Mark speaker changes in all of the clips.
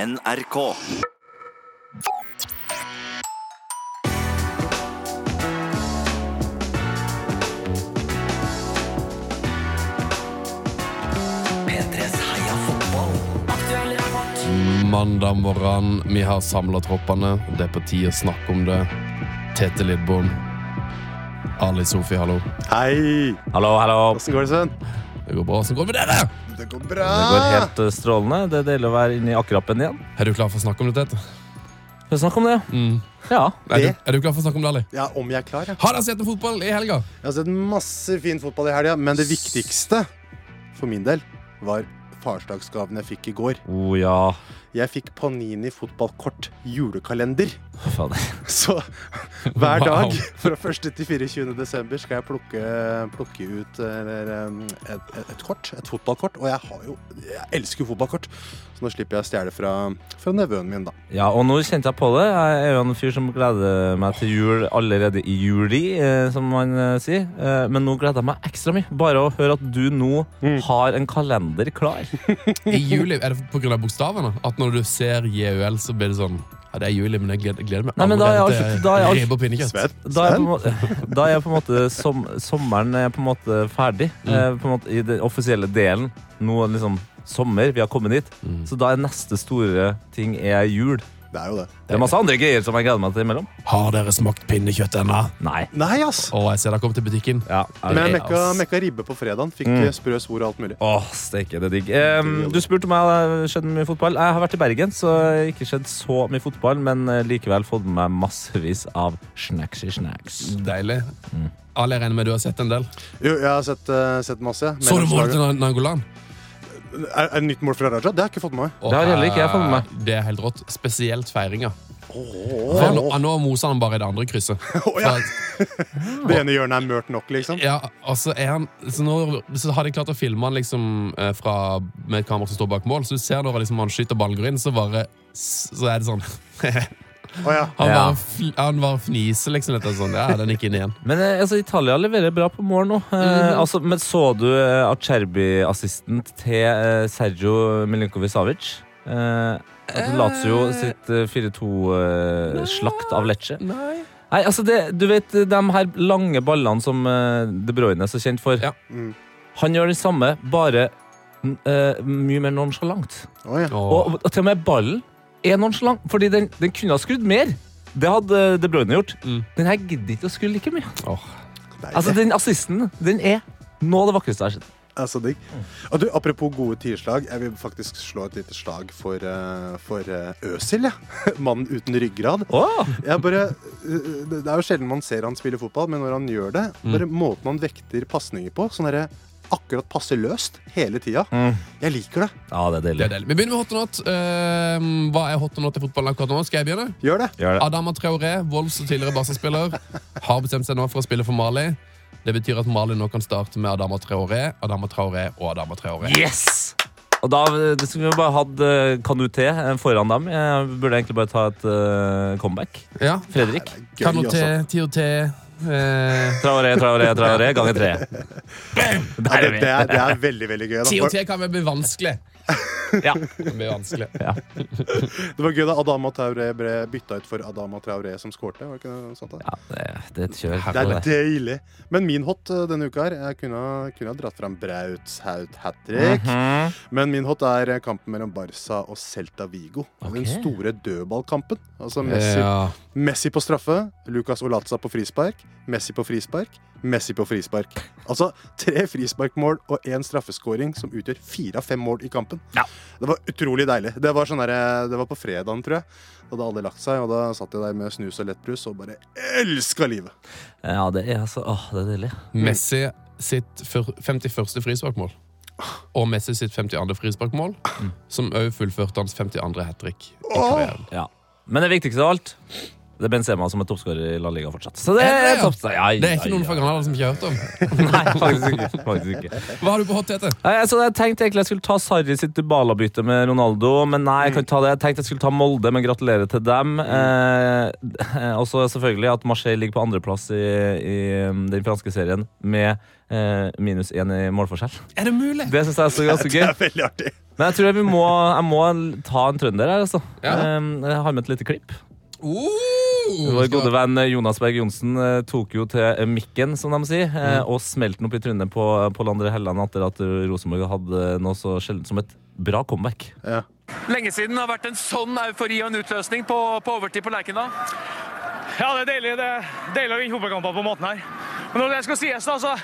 Speaker 1: NRK. P3s Heia fotball.
Speaker 2: Mandag morgen, vi har samla troppene. Det er på tide å snakke om det. Tete Lidbom. Ali Sofie, hallo.
Speaker 3: Hei!
Speaker 4: Hallo, hallo.
Speaker 3: Åssen går det, Sven?
Speaker 2: Det går bra. Åssen går det med dere?
Speaker 3: Det går bra!
Speaker 4: Det går helt eh, strålende. Det deler å være inni akkerappen igjen.
Speaker 2: Er du klar for å snakke om det, Tete?
Speaker 4: Skal vi snakke om det?
Speaker 2: Mm.
Speaker 4: Ja.
Speaker 2: Er, du,
Speaker 3: Det?
Speaker 2: er du klar for å snakke om det, Ali?
Speaker 3: Ja, om jeg er klar, ja.
Speaker 2: Har dere sett noe fotball i helga?
Speaker 3: Jeg har sett masse fin fotball i helga, men det viktigste for min del var farsdagsgaven jeg fikk i går.
Speaker 4: Å oh, ja.
Speaker 3: Jeg fikk Panini fotballkort julekalender.
Speaker 4: Fy Fader.
Speaker 3: Så hver
Speaker 2: Wow.
Speaker 3: dag fra 1. til 24. desember skal jeg plukke, plukke ut eller, um, et, et, et kort. Et fotballkort. Og jeg har jo Jeg elsker jo fotballkort, så nå slipper jeg å stjele fra, fra nevøen min, da.
Speaker 4: Ja, og nå kjente jeg på det. Jeg er jo en fyr som gleder meg til jul allerede i juli, eh, som man eh, sier. Eh, men nå gleder jeg meg ekstra mye. Bare å høre at du nå har en kalender klar.
Speaker 2: I juli? Er det pga. bokstavene? At når du ser JUL, så blir det sånn Ja, det er juli, men jeg gleder, jeg gleder meg
Speaker 4: Nei, men da er
Speaker 2: allerede
Speaker 4: alt-
Speaker 2: til
Speaker 4: da er alt-
Speaker 2: ribbe og pinnekjøtt.
Speaker 4: Da er, på en måte, da er på en måte som, sommeren er på en måte ferdig. Eh, på en måte, I den offisielle delen. Nå er det liksom sommer, vi har kommet dit. Så da er neste store ting er jul.
Speaker 3: Det er jo det.
Speaker 4: Det er masse andre greier som jeg gleder meg til imellom.
Speaker 2: Har dere smakt pinnekjøtt ennå?
Speaker 4: Nei.
Speaker 3: Nei, ass!
Speaker 2: Å, jeg ser dere kom til butikken.
Speaker 4: Ja,
Speaker 3: Men jeg
Speaker 2: det-
Speaker 3: mekka,
Speaker 2: ass.
Speaker 3: mekka ribbe på fredagen. Fikk
Speaker 4: Mm.
Speaker 3: eh, sprø svor og alt mulig.
Speaker 4: Åh, steike, det er digg. Em, du spurte meg om det har skjedd mye fotball. Jeg har vært i Bergen, så jeg har ikke skjedd så mye fotball, men eh, likevel fått med meg massevis av snacks i snacks.
Speaker 2: Deilig.
Speaker 4: Mm.
Speaker 2: Ali, jeg regner med du har sett en del.
Speaker 3: Jo, jeg har sett, eh, sett masse.
Speaker 2: Så du målet
Speaker 3: Medlemslaget-
Speaker 2: til Nan- Nangolan?
Speaker 3: er, er det nytt mål fra Raja? Det har jeg ikke fått med meg.
Speaker 2: Og
Speaker 4: Det har heller ikke jeg fått med meg.
Speaker 2: eh, Det er helt rått. Spesielt feiringa.
Speaker 3: Oh,
Speaker 2: For nå- Nå moser han bare i det andre krysset.
Speaker 3: ja.
Speaker 2: For at-
Speaker 3: Det ene hjørnet er mørt nok, liksom.
Speaker 2: ja, og så, er han, så, nå, så har de klart å filme han liksom, eh, fra, med et kamera som står bak mål. Så du ser når liksom, han skyter ballen går inn, så bare s- Så er det sånn.
Speaker 3: Å, ja.
Speaker 2: Han
Speaker 4: Ja.
Speaker 2: bare, fl- han bare fniser, liksom. Litt, og sånn. Ja, den gikk inn igjen.
Speaker 4: Men eh, altså, Italia leverer bra på mål nå. Eh,
Speaker 3: Mhm.
Speaker 4: altså, men så du eh, Acerbi-assisten til eh, Sergio Milinkovic-Savic? Eh, altså, Lazio sitt eh, 4-2-slakt av Lecce.
Speaker 2: Nei.
Speaker 4: Nei, altså det, Du vet de her lange ballene som eh, De Bruyne er så kjent for?
Speaker 2: Ja.
Speaker 3: Mm.
Speaker 4: Han gjør det samme, bare mm, eh, mye mer nonchalant.
Speaker 3: Å, ja.
Speaker 2: Og,
Speaker 4: Og, og til og med ballen er nonchalant, fordi den, den kunne ha skrudd mer. Det hadde eh, De Bruyne gjort.
Speaker 2: Mm.
Speaker 4: Den her gidder ikke å skru like mye.
Speaker 2: Åh.
Speaker 3: Nei,
Speaker 4: Altså,
Speaker 3: det
Speaker 4: Den assisten den er nå det vakreste jeg har sett.
Speaker 3: er så digg. Og du, apropos gode tierslag, jeg vil faktisk slå et lite slag for, eh, for eh, Øsil, ja. Mannen uten ryggrad.
Speaker 4: Åh!
Speaker 3: Jeg bare, eh, det det er jo sjelden man ser han spille fotball, men når han gjør det, bare måten han vekter pasninger på, sånn derre akkurat passe løst hele tida. Jeg liker det.
Speaker 4: Ja, det er
Speaker 2: det er
Speaker 4: deilig.
Speaker 2: deilig. Vi begynner med hot or not. Eh, hva er hot or not i fotballen akkurat nå? Skal jeg begynne?
Speaker 3: Gjør det.
Speaker 4: Gjør det.
Speaker 2: Adama Traoré, Wolves og tidligere Barca-spiller, har bestemt seg nå for å spille for Mali. Det betyr at Mali nå kan starte med Adama Traoré, Adama Traoré og Adama Traoré.
Speaker 4: Yes! Og da eh, det skulle vi bare hatt eh, Kanuté eh, foran dem. Jeg burde egentlig bare ta et eh, comeback.
Speaker 2: Ja.
Speaker 4: Fredrik.
Speaker 3: Gøy, altså.
Speaker 2: Kanoté, Tioté eh,
Speaker 4: Traoré, traoré, traoré ganger tre.
Speaker 3: Ja,
Speaker 4: Der
Speaker 3: det,
Speaker 4: er
Speaker 3: det,
Speaker 4: vi.
Speaker 3: er, det er veldig veldig gøy. Da.
Speaker 2: Tioté kan vel bli vanskelig.
Speaker 4: Ja.
Speaker 2: Det blir vanskelig.
Speaker 4: ja.
Speaker 3: Det var gøy da Adama Traoré ble bytta ut for Adama Traoré, som skårte. Var det ikke noe sånt da?
Speaker 4: ja det, det er et kjør.
Speaker 3: Det er
Speaker 4: Det er-
Speaker 3: deilig. Men min hot eh, denne uka her Jeg kunne, kunne ha dratt fram Brauthaut hat trick.
Speaker 4: Mhm.
Speaker 3: Men min hot er eh, kampen mellom Barca og Celta Vigo. Den
Speaker 4: Ok.
Speaker 3: store dødballkampen. Altså Messi,
Speaker 2: Eh, Ja.
Speaker 3: Messi på straffe, Lucas Olatza på frispark, Messi på frispark, Messi på frispark. Altså tre frisparkmål og én straffeskåring som utgjør fire av fem mål i kampen.
Speaker 4: Ja.
Speaker 3: Det var utrolig deilig. Det var, sånn derre- det var på fredagen, tror jeg. Da hadde alle lagt seg, og da satt jeg der med snus og lettbrus og bare elska livet.
Speaker 4: Ja, det er altså Åh, det er deilig.
Speaker 2: Messi sitt fyr- 51. frisparkmål. Og Messi sitt 52. frisparkmål, som òg fullførte hans 52. hat trick. i karrieren.
Speaker 4: Ja. Men det viktigste av alt Det er Benzema som er toppskårer i La Liga fortsatt. Så det
Speaker 2: Er det
Speaker 4: er
Speaker 2: det, ja?
Speaker 4: topp... Ja, ja,
Speaker 2: Det er ikke noen
Speaker 4: ja.
Speaker 2: fra Granada som ikke har hørt om.
Speaker 4: Nei, faktisk ikke. Faktisk ikke.
Speaker 2: Hva har du på hot tete?
Speaker 4: Nei, altså, jeg tenkte egentlig jeg skulle ta Sarri sitt Dybala-bytte med Ronaldo, men nei,
Speaker 3: Mm.
Speaker 4: jeg kan ikke ta det. Jeg tenkte jeg skulle ta Molde, men gratulerer til dem. Eh, og så selvfølgelig at Marseille ligger på andreplass i, i um, den franske serien med eh, minus én i målforskjell.
Speaker 2: Er det mulig?
Speaker 4: Det syns jeg er så ganske
Speaker 3: Det
Speaker 4: gøy.
Speaker 3: er veldig artig.
Speaker 4: Men jeg tror jeg, vi må, jeg må ta en trønder her, altså.
Speaker 2: Ja.
Speaker 4: Eh, jeg har med et lite klipp.
Speaker 2: Oh,
Speaker 4: Vår gode venn Jonas Berg Johnsen eh, tok jo til eh, mikken, som de sier, eh, og smelte den opp i trynet på Pål André Helland etter at eh, Rosenborg hadde noe så sjeldent som et bra comeback.
Speaker 3: Ja.
Speaker 5: Lenge siden det har vært en sånn eufori og en utløsning på, på overtid på Lerkendal.
Speaker 6: Ja, det er deilig. Det er deilig å vinne fotballkamper på den måten her. Men når det skal sies, da, så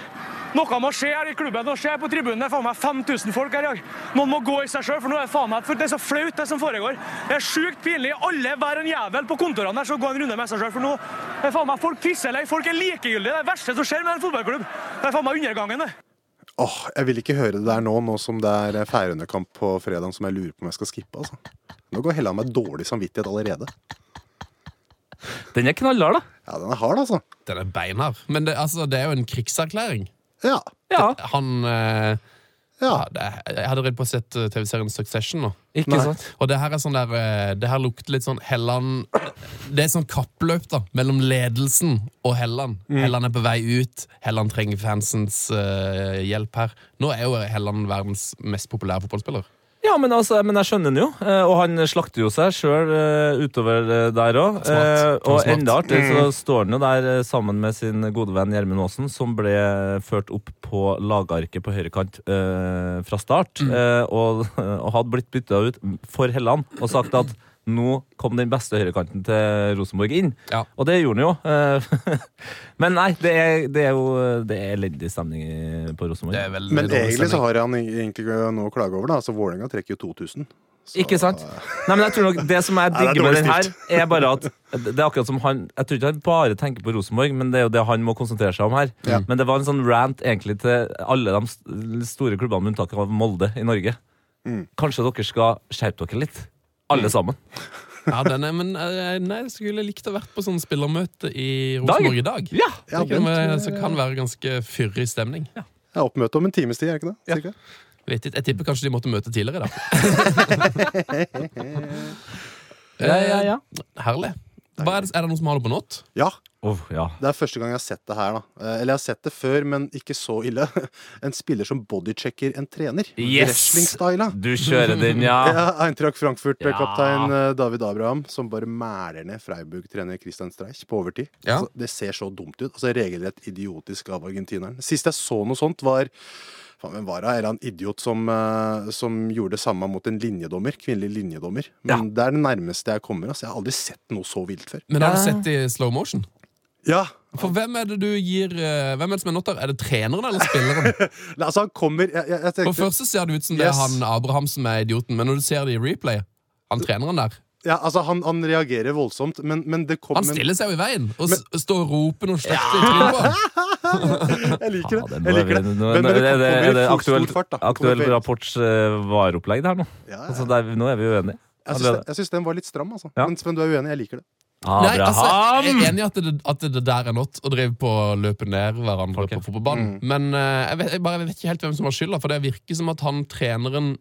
Speaker 6: noe må skje her i klubben. Noe skjer på tribunen. Det er faen meg 5000 folk her i dag. Noen må gå i seg sjøl, for nå er det faen meg for det er så flaut, det som foregår. Det er sjukt pinlig. Alle, hver en jævel på kontorene her, skal gå en runde med seg sjøl, for nå er faen meg folk pisselei. Folk er likegyldige. Det er det verste som skjer med en fotballklubb. Det er faen meg undergangen, det.
Speaker 3: Åh, jeg vil ikke høre det der nå, nå som det er Færøyene-kamp på fredag som jeg lurer på om jeg skal skippe. altså. Nå går Helland med dårlig samvittighet allerede.
Speaker 4: Den er knallhard, da.
Speaker 3: Ja, den er hard, altså.
Speaker 2: Den er beinhard. Men det, altså, det er jo en krigserklæring.
Speaker 3: Ja.
Speaker 4: Ja,
Speaker 2: Han eh,
Speaker 3: ja.
Speaker 2: ja, det, Jeg hadde redd på å sett eh, TV-serien Succession nå.
Speaker 4: ikke
Speaker 3: Nei.
Speaker 4: sant?
Speaker 2: Og det her er sånn der eh, Det her lukter litt sånn Helland Det er sånn kappløp da mellom ledelsen og Helland.
Speaker 3: Mm.
Speaker 2: Helland er på vei ut. Helland trenger fansens eh, hjelp her. Nå er jo Helland verdens mest populære fotballspiller.
Speaker 4: Ja, men, altså, men jeg skjønner den jo, eh, og han slakter jo seg sjøl utover eh, der òg.
Speaker 2: Smart.
Speaker 4: Og
Speaker 2: Smart. Mm.
Speaker 4: enda artigere så står han jo der eh, sammen med sin gode venn Gjermund Aasen, som ble ført opp på lagarket på høyre kant eh, fra start,
Speaker 2: Mm.
Speaker 4: eh, og, og hadde blitt bytta ut for Helland og sagt at nå kom den beste høyrekanten til Rosenborg inn.
Speaker 2: Ja.
Speaker 4: Og det gjorde han jo. eh, Men nei, det er, det er jo eh, Det er elendig stemning i- på Rosenborg.
Speaker 2: Det er veldig
Speaker 3: Men
Speaker 2: dårlig
Speaker 3: egentlig så
Speaker 2: stemning.
Speaker 3: har han egentlig ikke noe å klage over, da. Altså, Vålerenga trekker jo 2000. Så-
Speaker 4: Ikke sant? Nei, men jeg tror nok Det som jeg
Speaker 3: det er
Speaker 4: digger med den her,
Speaker 3: dårlig
Speaker 4: er bare at det er akkurat som han Jeg tror ikke han bare tenker på Rosenborg, men det er jo det han må konsentrere seg om her. Men det var en sånn rant egentlig til alle de st- store klubbene, med unntak av Molde i Norge.
Speaker 3: Mm.
Speaker 4: Kanskje dere skal skjerpe dere litt? Alle sammen.
Speaker 2: Ja, den er, men eh, nei, jeg skulle likt å vært på sånn spillermøte i Rosenborg i dag.
Speaker 4: Ja!
Speaker 3: Ja,
Speaker 2: Det kan,
Speaker 3: den tror
Speaker 2: være,
Speaker 3: jeg-
Speaker 2: altså, kan være ganske fyrig stemning.
Speaker 3: Ja, Oppmøte om en times tid, er det ikke det? Cirka?
Speaker 2: Vet ikke, jeg tipper kanskje de måtte møte tidligere, da.
Speaker 4: Ja, ja, ja.
Speaker 2: Eh, Herlig. Hva er, det, er det noen som har det på not?
Speaker 3: Ja.
Speaker 4: Oh, ja.
Speaker 3: Det er første gang jeg har sett det her. da Eh, Eller jeg har sett det før, men ikke så ille. En spiller som bodychecker en trener.
Speaker 4: Yes!
Speaker 3: Wrestling-styla.
Speaker 4: Du kjører den, ja.
Speaker 3: Ja, Eintracht Frankfurt-kaptein eh,
Speaker 4: Ja.
Speaker 3: David Abraham som bare mæler ned Freiburg-trener Christian Streich på overtid.
Speaker 2: Ja.
Speaker 3: Altså, det ser så dumt ut. Altså Regelrett idiotisk av argentineren. Sist jeg så noe sånt, var Faen, hvem var det? En eller annen idiot som, eh, som gjorde det samme mot en linjedommer. Kvinnelig linjedommer. Men det er det nærmeste jeg kommer. Altså. Jeg har aldri sett noe så vilt før.
Speaker 2: Men har du sett det i slow motion?
Speaker 3: Ja,
Speaker 2: For hvem er det du gir eh, Hvem er det som er notter? Er det treneren eller spilleren?
Speaker 3: Nei, altså han kommer Jeg, jeg, jeg
Speaker 2: For
Speaker 3: tenkte
Speaker 2: først så ser det ut som det er
Speaker 3: Yes.
Speaker 2: han Abraham som er idioten, men når du ser det i replay, han treneren der
Speaker 3: ja, altså, han, han reagerer voldsomt, men, men det kommer
Speaker 2: Han stiller seg jo i veien og s- står og roper noe slekt i trynet på han.
Speaker 3: Jeg liker
Speaker 4: Ja,
Speaker 3: det.
Speaker 4: det må
Speaker 3: Jeg liker
Speaker 4: være-
Speaker 3: det. Men,
Speaker 4: nå- nå-
Speaker 3: men
Speaker 4: Er
Speaker 3: det
Speaker 4: det- er
Speaker 3: kommer i
Speaker 4: det
Speaker 3: full stor
Speaker 4: aktuelt
Speaker 3: fart, da.
Speaker 4: aktuell
Speaker 3: Kommer-
Speaker 4: rapports eh, vareopplegg der nå?
Speaker 3: Ja, ja.
Speaker 4: Altså, der, nå er vi uenige.
Speaker 3: Jeg syns, den- jeg syns den var litt stram, altså.
Speaker 4: Ja.
Speaker 3: Men Sven, du er uenig. Jeg liker det.
Speaker 2: Nei, altså,
Speaker 4: Abraham!
Speaker 2: jeg er enig i at det, at det der er not, å drive på å løpe ned hverandre
Speaker 4: Ok.
Speaker 2: på fotballbanen. Men eh, jeg, vet, jeg, bare, jeg vet ikke helt hvem som har skylda, for det virker som at han treneren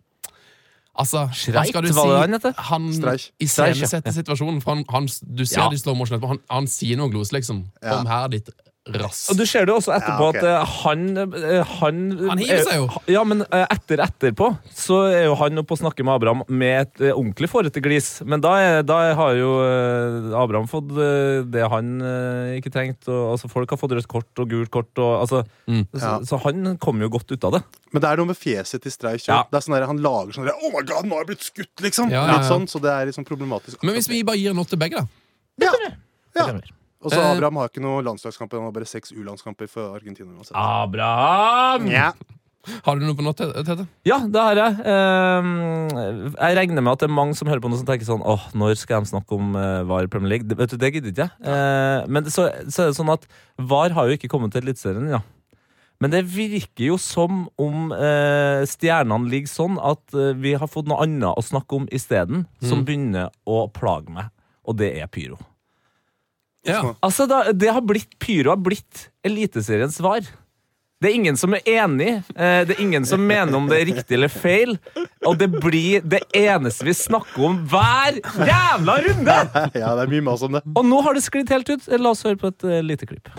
Speaker 2: Altså, hva
Speaker 4: Schreit,
Speaker 2: skal du
Speaker 4: var det han heter?
Speaker 2: Han
Speaker 3: Streich.
Speaker 2: iscenesetter situasjonen. For han, han, du ser
Speaker 4: Ja.
Speaker 2: de slow motion etterpå. Han, han sier noe glose, liksom.
Speaker 3: Ja.
Speaker 2: Kom her, ditt rass.
Speaker 4: Og du ser det jo også etterpå
Speaker 3: Ja, ok.
Speaker 4: at eh, han eh, Han,
Speaker 2: Han hiver seg jo.
Speaker 4: eh, Ja, men eh, etter etterpå så er jo han oppe og snakker med Abraham med et eh, ordentlig fårete glis. Men da, er, da har jo eh, Abraham fått eh, det han eh, ikke trengte. Og, altså, folk har fått rødt kort og gult kort. Og, altså, så,
Speaker 2: Mm.
Speaker 3: Ja.
Speaker 4: så han kom jo godt ut av det.
Speaker 3: Men det er noe med fjeset til Streich.
Speaker 4: Ja.
Speaker 3: Ja. Sånn der- han lager sånn der, Oh my god, nå har jeg blitt skutt, liksom!
Speaker 2: Ja, ja,
Speaker 3: Litt
Speaker 2: ja.
Speaker 3: sånn, så det er litt sånn problematisk.
Speaker 2: Men hvis vi bare gir not til begge, da.
Speaker 3: ja. Ja.
Speaker 4: stemmer.
Speaker 3: Og så
Speaker 2: eh,
Speaker 3: Abraham har ikke noe landslagskamper. Han har bare seks U-landskamper for Argentina. uansett.
Speaker 4: Abraham!
Speaker 3: Ja.
Speaker 2: Har du noe på not, Tete?
Speaker 4: Ja, det har jeg. Ehm, jeg regner med at det er mange som hører på noe som tenker sånn Åh, når skal de snakke om eh, VAR i Premier League? Det, vet du, det gidder ikke jeg. Eh, men så, så er det sånn at VAR har jo ikke kommet til Eliteserien, ja. Men det virker jo som om eh, stjernene ligger sånn at eh, vi har fått noe annet å snakke om isteden, som begynner å plage meg, og det er pyro.
Speaker 2: Ja.
Speaker 4: Altså, da, det har blitt Pyro har blitt Eliteseriens svar. Det er ingen som er enig. eh, Det er ingen som mener om det er riktig eller feil. Og det blir det eneste vi snakker om hver jævla runde!
Speaker 3: Ja, det er mye mas om det.
Speaker 4: Og nå har det sklidd helt ut. La oss høre på et eh, lite klipp.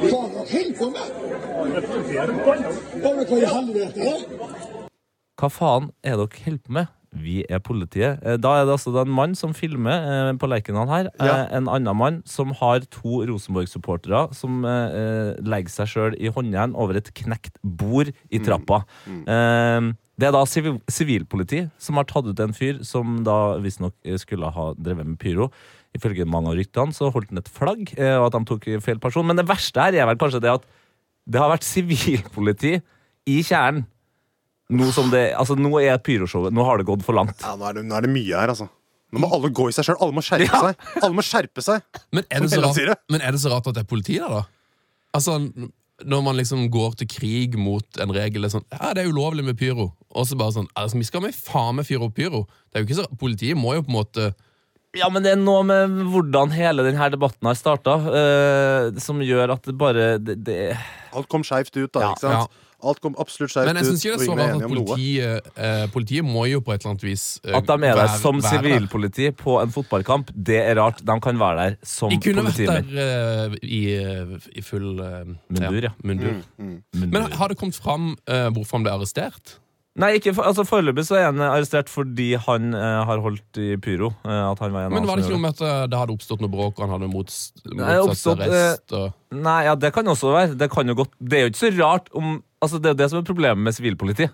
Speaker 4: Hva faen er dere holder på med? Vi er politiet. Eh, Da er det altså da en mann som filmer eh, på Lerkendal her. eh,
Speaker 3: Ja.
Speaker 4: En annen mann som har to Rosenborg-supportere som eh, eh, legger seg sjøl i håndjern over et knekt bord i trappa. Eh, det er da sivil, sivilpoliti som har tatt ut en fyr som da visstnok eh, skulle ha drevet med pyro. Ifølge mange av ryktene så holdt han et flagg, eh, og at de tok feil person. Men det verste her er vel kanskje det at det har vært sivilpoliti i kjernen. Nå, som det, altså, nå er pyroshowet Nå har det gått for langt.
Speaker 3: Ja, nå er det, nå er det mye her, altså. Nå må alle gå i seg sjøl. Alle må skjerpe seg. Alle må skjerpe seg.
Speaker 2: Men er, det så
Speaker 3: Som Helland sier det.
Speaker 2: rart, men er det så rart at det er politi der, da? Altså, n- Når man liksom går til krig mot en regel det er sånn, Ja, det er ulovlig med pyro. Og så bare sånn altså, Vi skal med faen meg fyre opp pyro. Det er jo ikke så, Politiet må jo på en måte
Speaker 4: Ja, men det er noe med hvordan hele denne debatten har starta, eh, som gjør at det bare det, det,
Speaker 3: Alt kom skeivt ut, da. ikke sant? Alt kom absolutt skjevt ut.
Speaker 2: Men jeg syns ikke det er
Speaker 3: og
Speaker 2: så
Speaker 3: ingen var
Speaker 2: rart at
Speaker 3: enige om noe.
Speaker 2: politiet, eh, politiet må jo på et eller annet vis eh,
Speaker 4: At de er der
Speaker 2: være-
Speaker 4: som
Speaker 2: være der.
Speaker 4: sivilpoliti på en fotballkamp, det er rart. De kan være der som
Speaker 2: De kunne vært
Speaker 4: politimenn.
Speaker 2: der eh, i, eh, i full eh,
Speaker 4: Mundur, ja.
Speaker 2: mundur.
Speaker 3: Mm,
Speaker 2: Men har det kommet fram eh, hvorfor han ble arrestert?
Speaker 4: Nei, ikke, for- altså Foreløpig så er han arrestert fordi han eh, har holdt i pyro. eh, at han var en av
Speaker 2: Men
Speaker 4: som
Speaker 2: Var det ikke noe
Speaker 4: gjorde
Speaker 2: med at eh, det hadde oppstått noe bråk, og han hadde mots-
Speaker 4: Nei,
Speaker 2: motsatt
Speaker 4: oppstått, eh,
Speaker 2: seg arrest? Og...
Speaker 4: Nei, ja, det kan også være. Det, kan jo godt. det er jo ikke så rart om altså, Det er jo det som er problemet med sivilpoliti.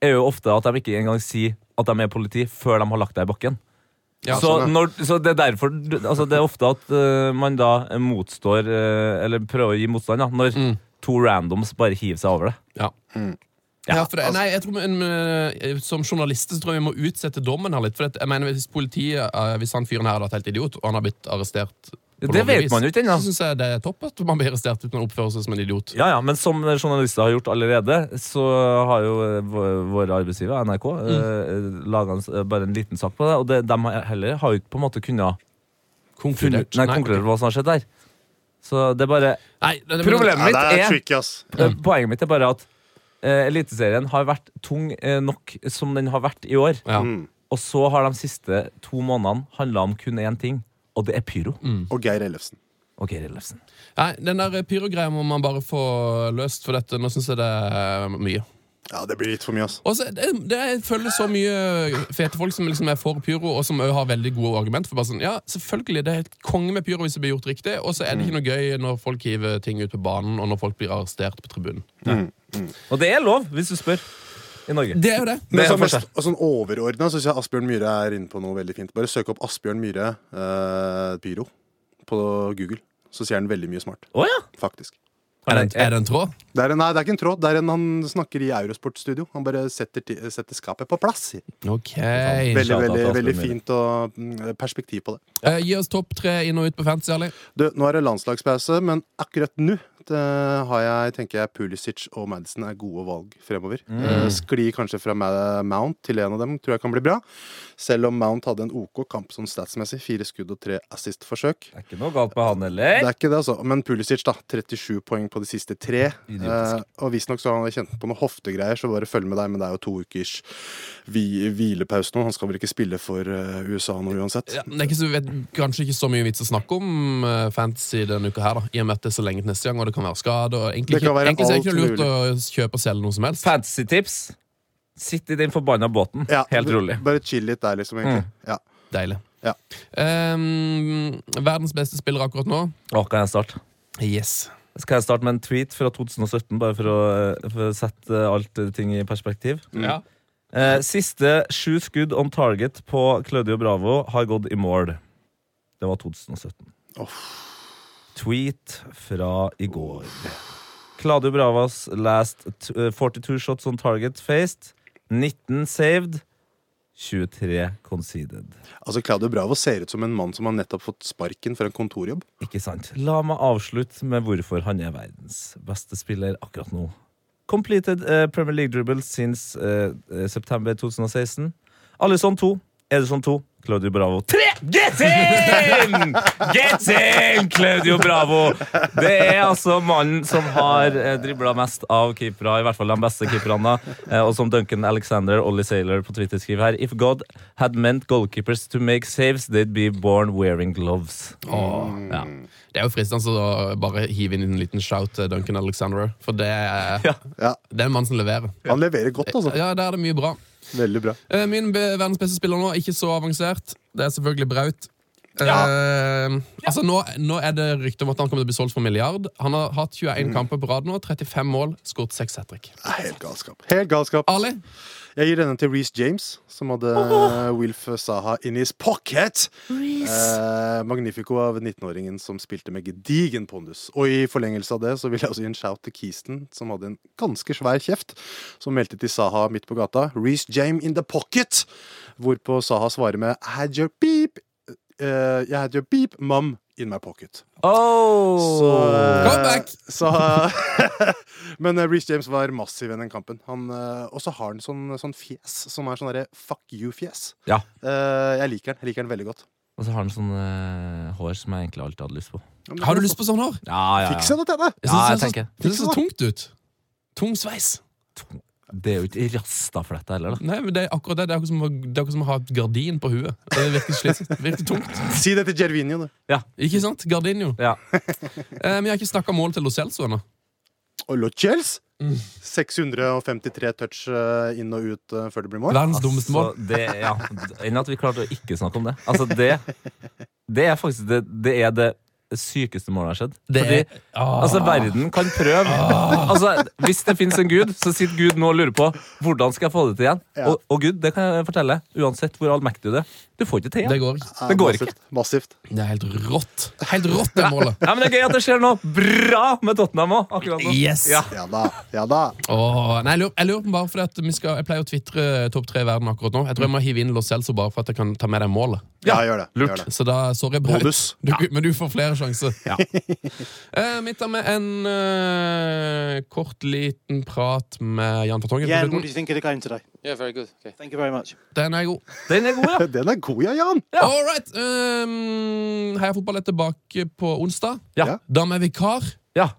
Speaker 4: er jo ofte at de ikke engang sier at de er politi, før de har lagt deg i bakken.
Speaker 2: Ja,
Speaker 4: så,
Speaker 3: sånn, ja.
Speaker 4: når, så det er derfor altså, Det er ofte at eh, man da motstår eh, Eller prøver å gi motstand, da, når to randoms bare hiver seg over det.
Speaker 2: Ja. Ja, for
Speaker 4: altså-
Speaker 2: det, nei, jeg tror vi- en, eh, Som journalister så tror jeg vi må utsette dommen her litt. For det, jeg mener, Hvis politiet, eh, hvis han fyren her hadde vært helt idiot, og han har blitt arrestert på
Speaker 4: Det
Speaker 2: lovlig
Speaker 4: vet
Speaker 2: vis,
Speaker 4: man jo ikke ennå.
Speaker 2: Så syns jeg det er topp at man blir arrestert uten å oppføre seg som en idiot.
Speaker 4: Ja, ja, Men som journalister har gjort allerede, så har jo eh, vå- våre arbeidsgivere, NRK, mm. laga bare en liten sak på det. Og det, de har heller har jo ikke på en måte kunnet funnet ut- Nei, konkludert hva som har skjedd der. Så det er bare
Speaker 2: Nei, det- det-
Speaker 4: Problemet
Speaker 3: Ja,
Speaker 4: mitt
Speaker 3: det
Speaker 4: er,
Speaker 3: er tricky, ass.
Speaker 4: eh, Poenget mitt er bare at eh, Eliteserien har vært tung eh, nok som den har vært i år.
Speaker 2: Ja.
Speaker 4: Og så har de siste to månedene handla om kun én ting, og det er pyro.
Speaker 2: Mm.
Speaker 3: Og Geir Ellefsen.
Speaker 4: Og Geir Ellefsen.
Speaker 2: Nei, den der pyrogreia må man bare få løst, for dette, nå syns jeg det er mye.
Speaker 3: Ja, det blir litt for mye, ass.
Speaker 2: Og så, det, det jeg føler så mye fete folk som liksom er for pyro, og som også har veldig gode argument. For bare sånn, ja, selvfølgelig, Det er helt konge med pyro hvis det blir gjort riktig, og så er det ikke noe gøy når folk hiver ting ut på banen, og når folk blir arrestert på tribunen.
Speaker 4: Og det er lov, hvis du spør, i Norge.
Speaker 2: Det er jo det.
Speaker 3: Men
Speaker 4: Det er
Speaker 3: sånn, mest,
Speaker 4: forskjell.
Speaker 3: og sånn overordna syns jeg Asbjørn Myhre er inne på noe veldig fint. Bare søk opp Asbjørn Myhre eh, pyro på Google, så sier han veldig mye smart.
Speaker 4: Å ja!
Speaker 3: Faktisk.
Speaker 2: Er det, er det en tråd?
Speaker 3: Det er en, nei, det er ikke en tråd. Det er en han snakker i Eurosport-studio. Han bare setter, ti- setter skapet på plass.
Speaker 2: OK.
Speaker 3: Veldig,
Speaker 4: Shout out
Speaker 3: veldig,
Speaker 4: til Asbjørn
Speaker 3: veldig
Speaker 4: Myhre.
Speaker 3: fint og mm, perspektiv på det.
Speaker 2: Eh, gi oss topp tre inn og ut på fantasy, Ali.
Speaker 3: Du, nå er det landslagspause, men akkurat nå det har jeg, tenker jeg Pulisic og Madison er gode valg fremover.
Speaker 4: Mm.
Speaker 3: Eh, Skli kanskje fra Ma- Mount til en av dem, tror jeg kan bli bra. Selv om Mount hadde en OK kamp sånn statsmessig. Fire skudd og tre assist-forsøk.
Speaker 4: Det er ikke noe galt med han heller.
Speaker 3: Det er ikke det, altså. Men Pulisic, da. 37 poeng på de siste tre. Eh, og visstnok så har han kjent på noen hoftegreier, så bare følg med deg. Men det er jo to ukers hvi hvilepause nå. Han skal vel ikke spille for eh, USA nå uansett.
Speaker 2: Ja, men det er ikke så, vet, kanskje ikke så mye vits å snakke om eh, fantasy denne uka, her da i og med at det er så lenge til neste gang, og det kan være skade. Og egentlig,
Speaker 3: Det kan
Speaker 2: ikke-
Speaker 3: være
Speaker 2: egentlig så er det ikke
Speaker 3: alt
Speaker 2: lurt å kjøpe og selge noe som helst.
Speaker 4: Fantasy-tips. Sitt i den forbanna båten.
Speaker 3: Ja,
Speaker 4: Helt rolig. Mm.
Speaker 3: Bare chill litt der, liksom. egentlig ja.
Speaker 2: Deilig.
Speaker 3: Ja.
Speaker 2: Ehm, verdens beste spiller akkurat nå?
Speaker 4: Å, kan jeg starte?
Speaker 2: Yes.
Speaker 4: Skal jeg starte med en tweet fra 2017, bare for å, eh, for å sette alt eh, ting i perspektiv?
Speaker 2: Ja.
Speaker 4: Eh, siste sju skudd on target på Claudio Bravo har gått i mål. Det var 2017. Tweet fra i går. Claudio Bravas last t- eh, 42 shots on target faced. 19 saved. 23 conceded.
Speaker 3: Altså, Claudio Bravo ser ut som en mann som har nettopp fått sparken for en kontorjobb.
Speaker 4: Ikke sant. La meg avslutte med hvorfor han er verdens beste spiller akkurat nå. Completed eh, Premier League dribble since eh, eh, september 2016. Alisson 2, Ederson 2. Claudio Bravo 3. Get in! Get in, Claudio Bravo! Det er altså mannen som har dribla mest av keepere, i hvert fall de beste keeperne. eh, Og som Duncan Alexander Ollie Sailor på Twitter skriver her If God had meant goalkeepers to make saves, they'd be born wearing gloves. Ja.
Speaker 2: Det er jo fristende å bare hive inn en liten shout til Duncan Alexander. For det er,
Speaker 4: Ja.
Speaker 3: Ja,
Speaker 2: det er en mann som leverer.
Speaker 3: Han leverer godt, altså.
Speaker 2: Ja, der er det mye bra.
Speaker 3: Veldig bra.
Speaker 2: Eh, Min be- verdens beste spiller nå, ikke så avansert. Det er selvfølgelig Braut. Eh, altså nå, nå er det rykte om at han kommer til å bli solgt for milliard. Han har hatt
Speaker 3: Mm.
Speaker 2: 21 kamper på rad nå, 35 mål, skåret 6 hat trick.
Speaker 3: Det er Helt galskap. Helt galskap.
Speaker 2: Ali,
Speaker 3: Jeg gir denne til Reece James, som hadde eh, Wilf Saha in his pocket. Eh, Magnifico av 19-åringen som spilte med gedigen pondus. Og i forlengelse av det så vil jeg også gi en shout til Keaston, som hadde en ganske svær kjeft, som meldte til Saha midt på gata 'Reece James in the pocket', hvorpå Saha svarer med 'I had your beep, eh, I had your beep, mum, in my pocket'. Så,
Speaker 4: Oh.
Speaker 2: Comeback!
Speaker 3: så, men eh, Reece James var massiv i den kampen. Han, eh, Og så har han sånn, sånn fjes som er sånn derre fuck you-fjes.
Speaker 4: Ja.
Speaker 3: Eh, jeg liker den jeg liker den veldig godt.
Speaker 4: Og så har han sånn eh, hår som jeg egentlig alltid hadde lyst på.
Speaker 2: har du lyst på sånn hår?
Speaker 4: Ja, ja,
Speaker 3: Fiks henne til henne!
Speaker 4: Ja, jeg
Speaker 2: det ser så-
Speaker 4: tenker.
Speaker 2: det
Speaker 3: sånn.
Speaker 2: ser så tungt ut. Tung sveis.
Speaker 4: Det er jo ikke rastafletta heller, da.
Speaker 2: Nei, men Det er akkurat det. Det er akkurat som, å- det er akkurat som å ha et gardin på huet. Det virker slitsomt. Det Virker tungt.
Speaker 3: Si det til Gervinho, du.
Speaker 2: Ikke sant? Gardinio.
Speaker 4: Ja.
Speaker 2: Eh, vi har ikke snakka mål til Lo Celso ennå.
Speaker 3: Og Lo Chels. 653 touch eh, inn og ut eh, før det blir mål.
Speaker 2: Verdens dummeste mål.
Speaker 4: Altså, det, ja, enn at vi klarte å ikke snakke om det. Altså, det, det er faktisk det, det, er det sykeste målet har skjedd.
Speaker 2: Det
Speaker 4: Fordi,
Speaker 2: er, ah,
Speaker 4: altså, verden kan prøve. Altså, hvis det fins en gud, så sitter Gud nå og lurer på hvordan skal jeg få det til igjen.
Speaker 3: Ja.
Speaker 4: Og, og Gud, det kan jeg fortelle, uansett hvor allmektig du er, du får ikke til
Speaker 2: det
Speaker 4: igjen.
Speaker 2: går ikke.
Speaker 3: Eh,
Speaker 4: det går
Speaker 3: massivt, Massivt.
Speaker 2: Det er helt rått. Helt rått, det målet.
Speaker 4: Ja, men det er gøy at det skjer noe bra med Tottenham òg, akkurat nå.
Speaker 2: Yes!
Speaker 4: Ja.
Speaker 3: Ja da. Ja da.
Speaker 2: Åh, nei, jeg lurer, jeg lurer på bare fordi at vi skal, Jeg pleier å tvitre topp tre i verden akkurat nå. Jeg tror jeg må hive inn Lo Celso bare for at jeg kan ta med deg målet.
Speaker 3: Ja, gjør det. Gjør det.
Speaker 2: Så da, sorry, Braut.
Speaker 3: Bonus.
Speaker 2: Du, Men du får flere sjanser. eh, vi tar med en eh, kort, liten prat med Jan Fartongen.
Speaker 7: Yeah,
Speaker 2: på
Speaker 7: and what do
Speaker 2: slutten.
Speaker 7: you think of the game today?
Speaker 5: Yeah, very good. Okay.
Speaker 7: Thank you very much.
Speaker 2: Den er god.
Speaker 4: Den er god, ja.
Speaker 3: Den er god, ja, Jan!
Speaker 2: All right. Um, Heia fotball er tilbake på onsdag.
Speaker 4: Ja.
Speaker 2: Da med vikar.
Speaker 4: Ja.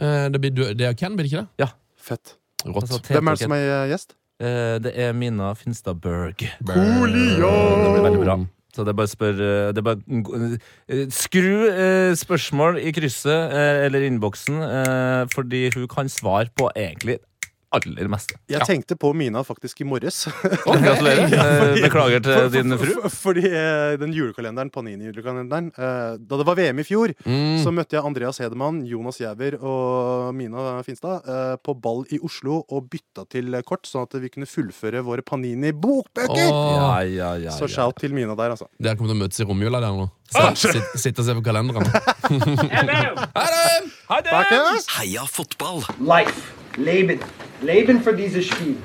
Speaker 2: Eh, det blir du- det er Ken, blir det ikke det?
Speaker 3: Fett.
Speaker 2: Rått.
Speaker 4: Altså,
Speaker 3: Hvem er det som er eh, gjest?
Speaker 4: Eh, Det er Mina Finstad Berg.
Speaker 3: Julio!
Speaker 4: Det blir veldig bra. Så det er bare å spørre det er bare, eh, Skru eh, spørsmål i krysset eh, eller innboksen, eh, fordi hun kan svare på egentlig aller meste.
Speaker 3: Jeg tenkte på Mina faktisk i morges.
Speaker 4: Gratulerer. Eh, Beklager til din fru.
Speaker 3: F- Fordi eh, den julekalenderen, Panini-julekalenderen eh, Da det var VM i fjor,
Speaker 4: Mm.
Speaker 3: så møtte jeg Andreas Hedemann, Jonas Giæver og Mina Finstad eh, på ball i Oslo og bytta til kort, sånn at vi kunne fullføre våre Panini-bokbøker!
Speaker 4: Ja, ja, ja,
Speaker 3: Så
Speaker 4: ja.
Speaker 3: shout til Mina der, altså.
Speaker 2: Dere kommer til å møtes i romjula der nå. Sitte sitte og se på kalenderen. Ha det!
Speaker 1: Heia fotball!
Speaker 8: life. Leben. Leben für dieses Spiel.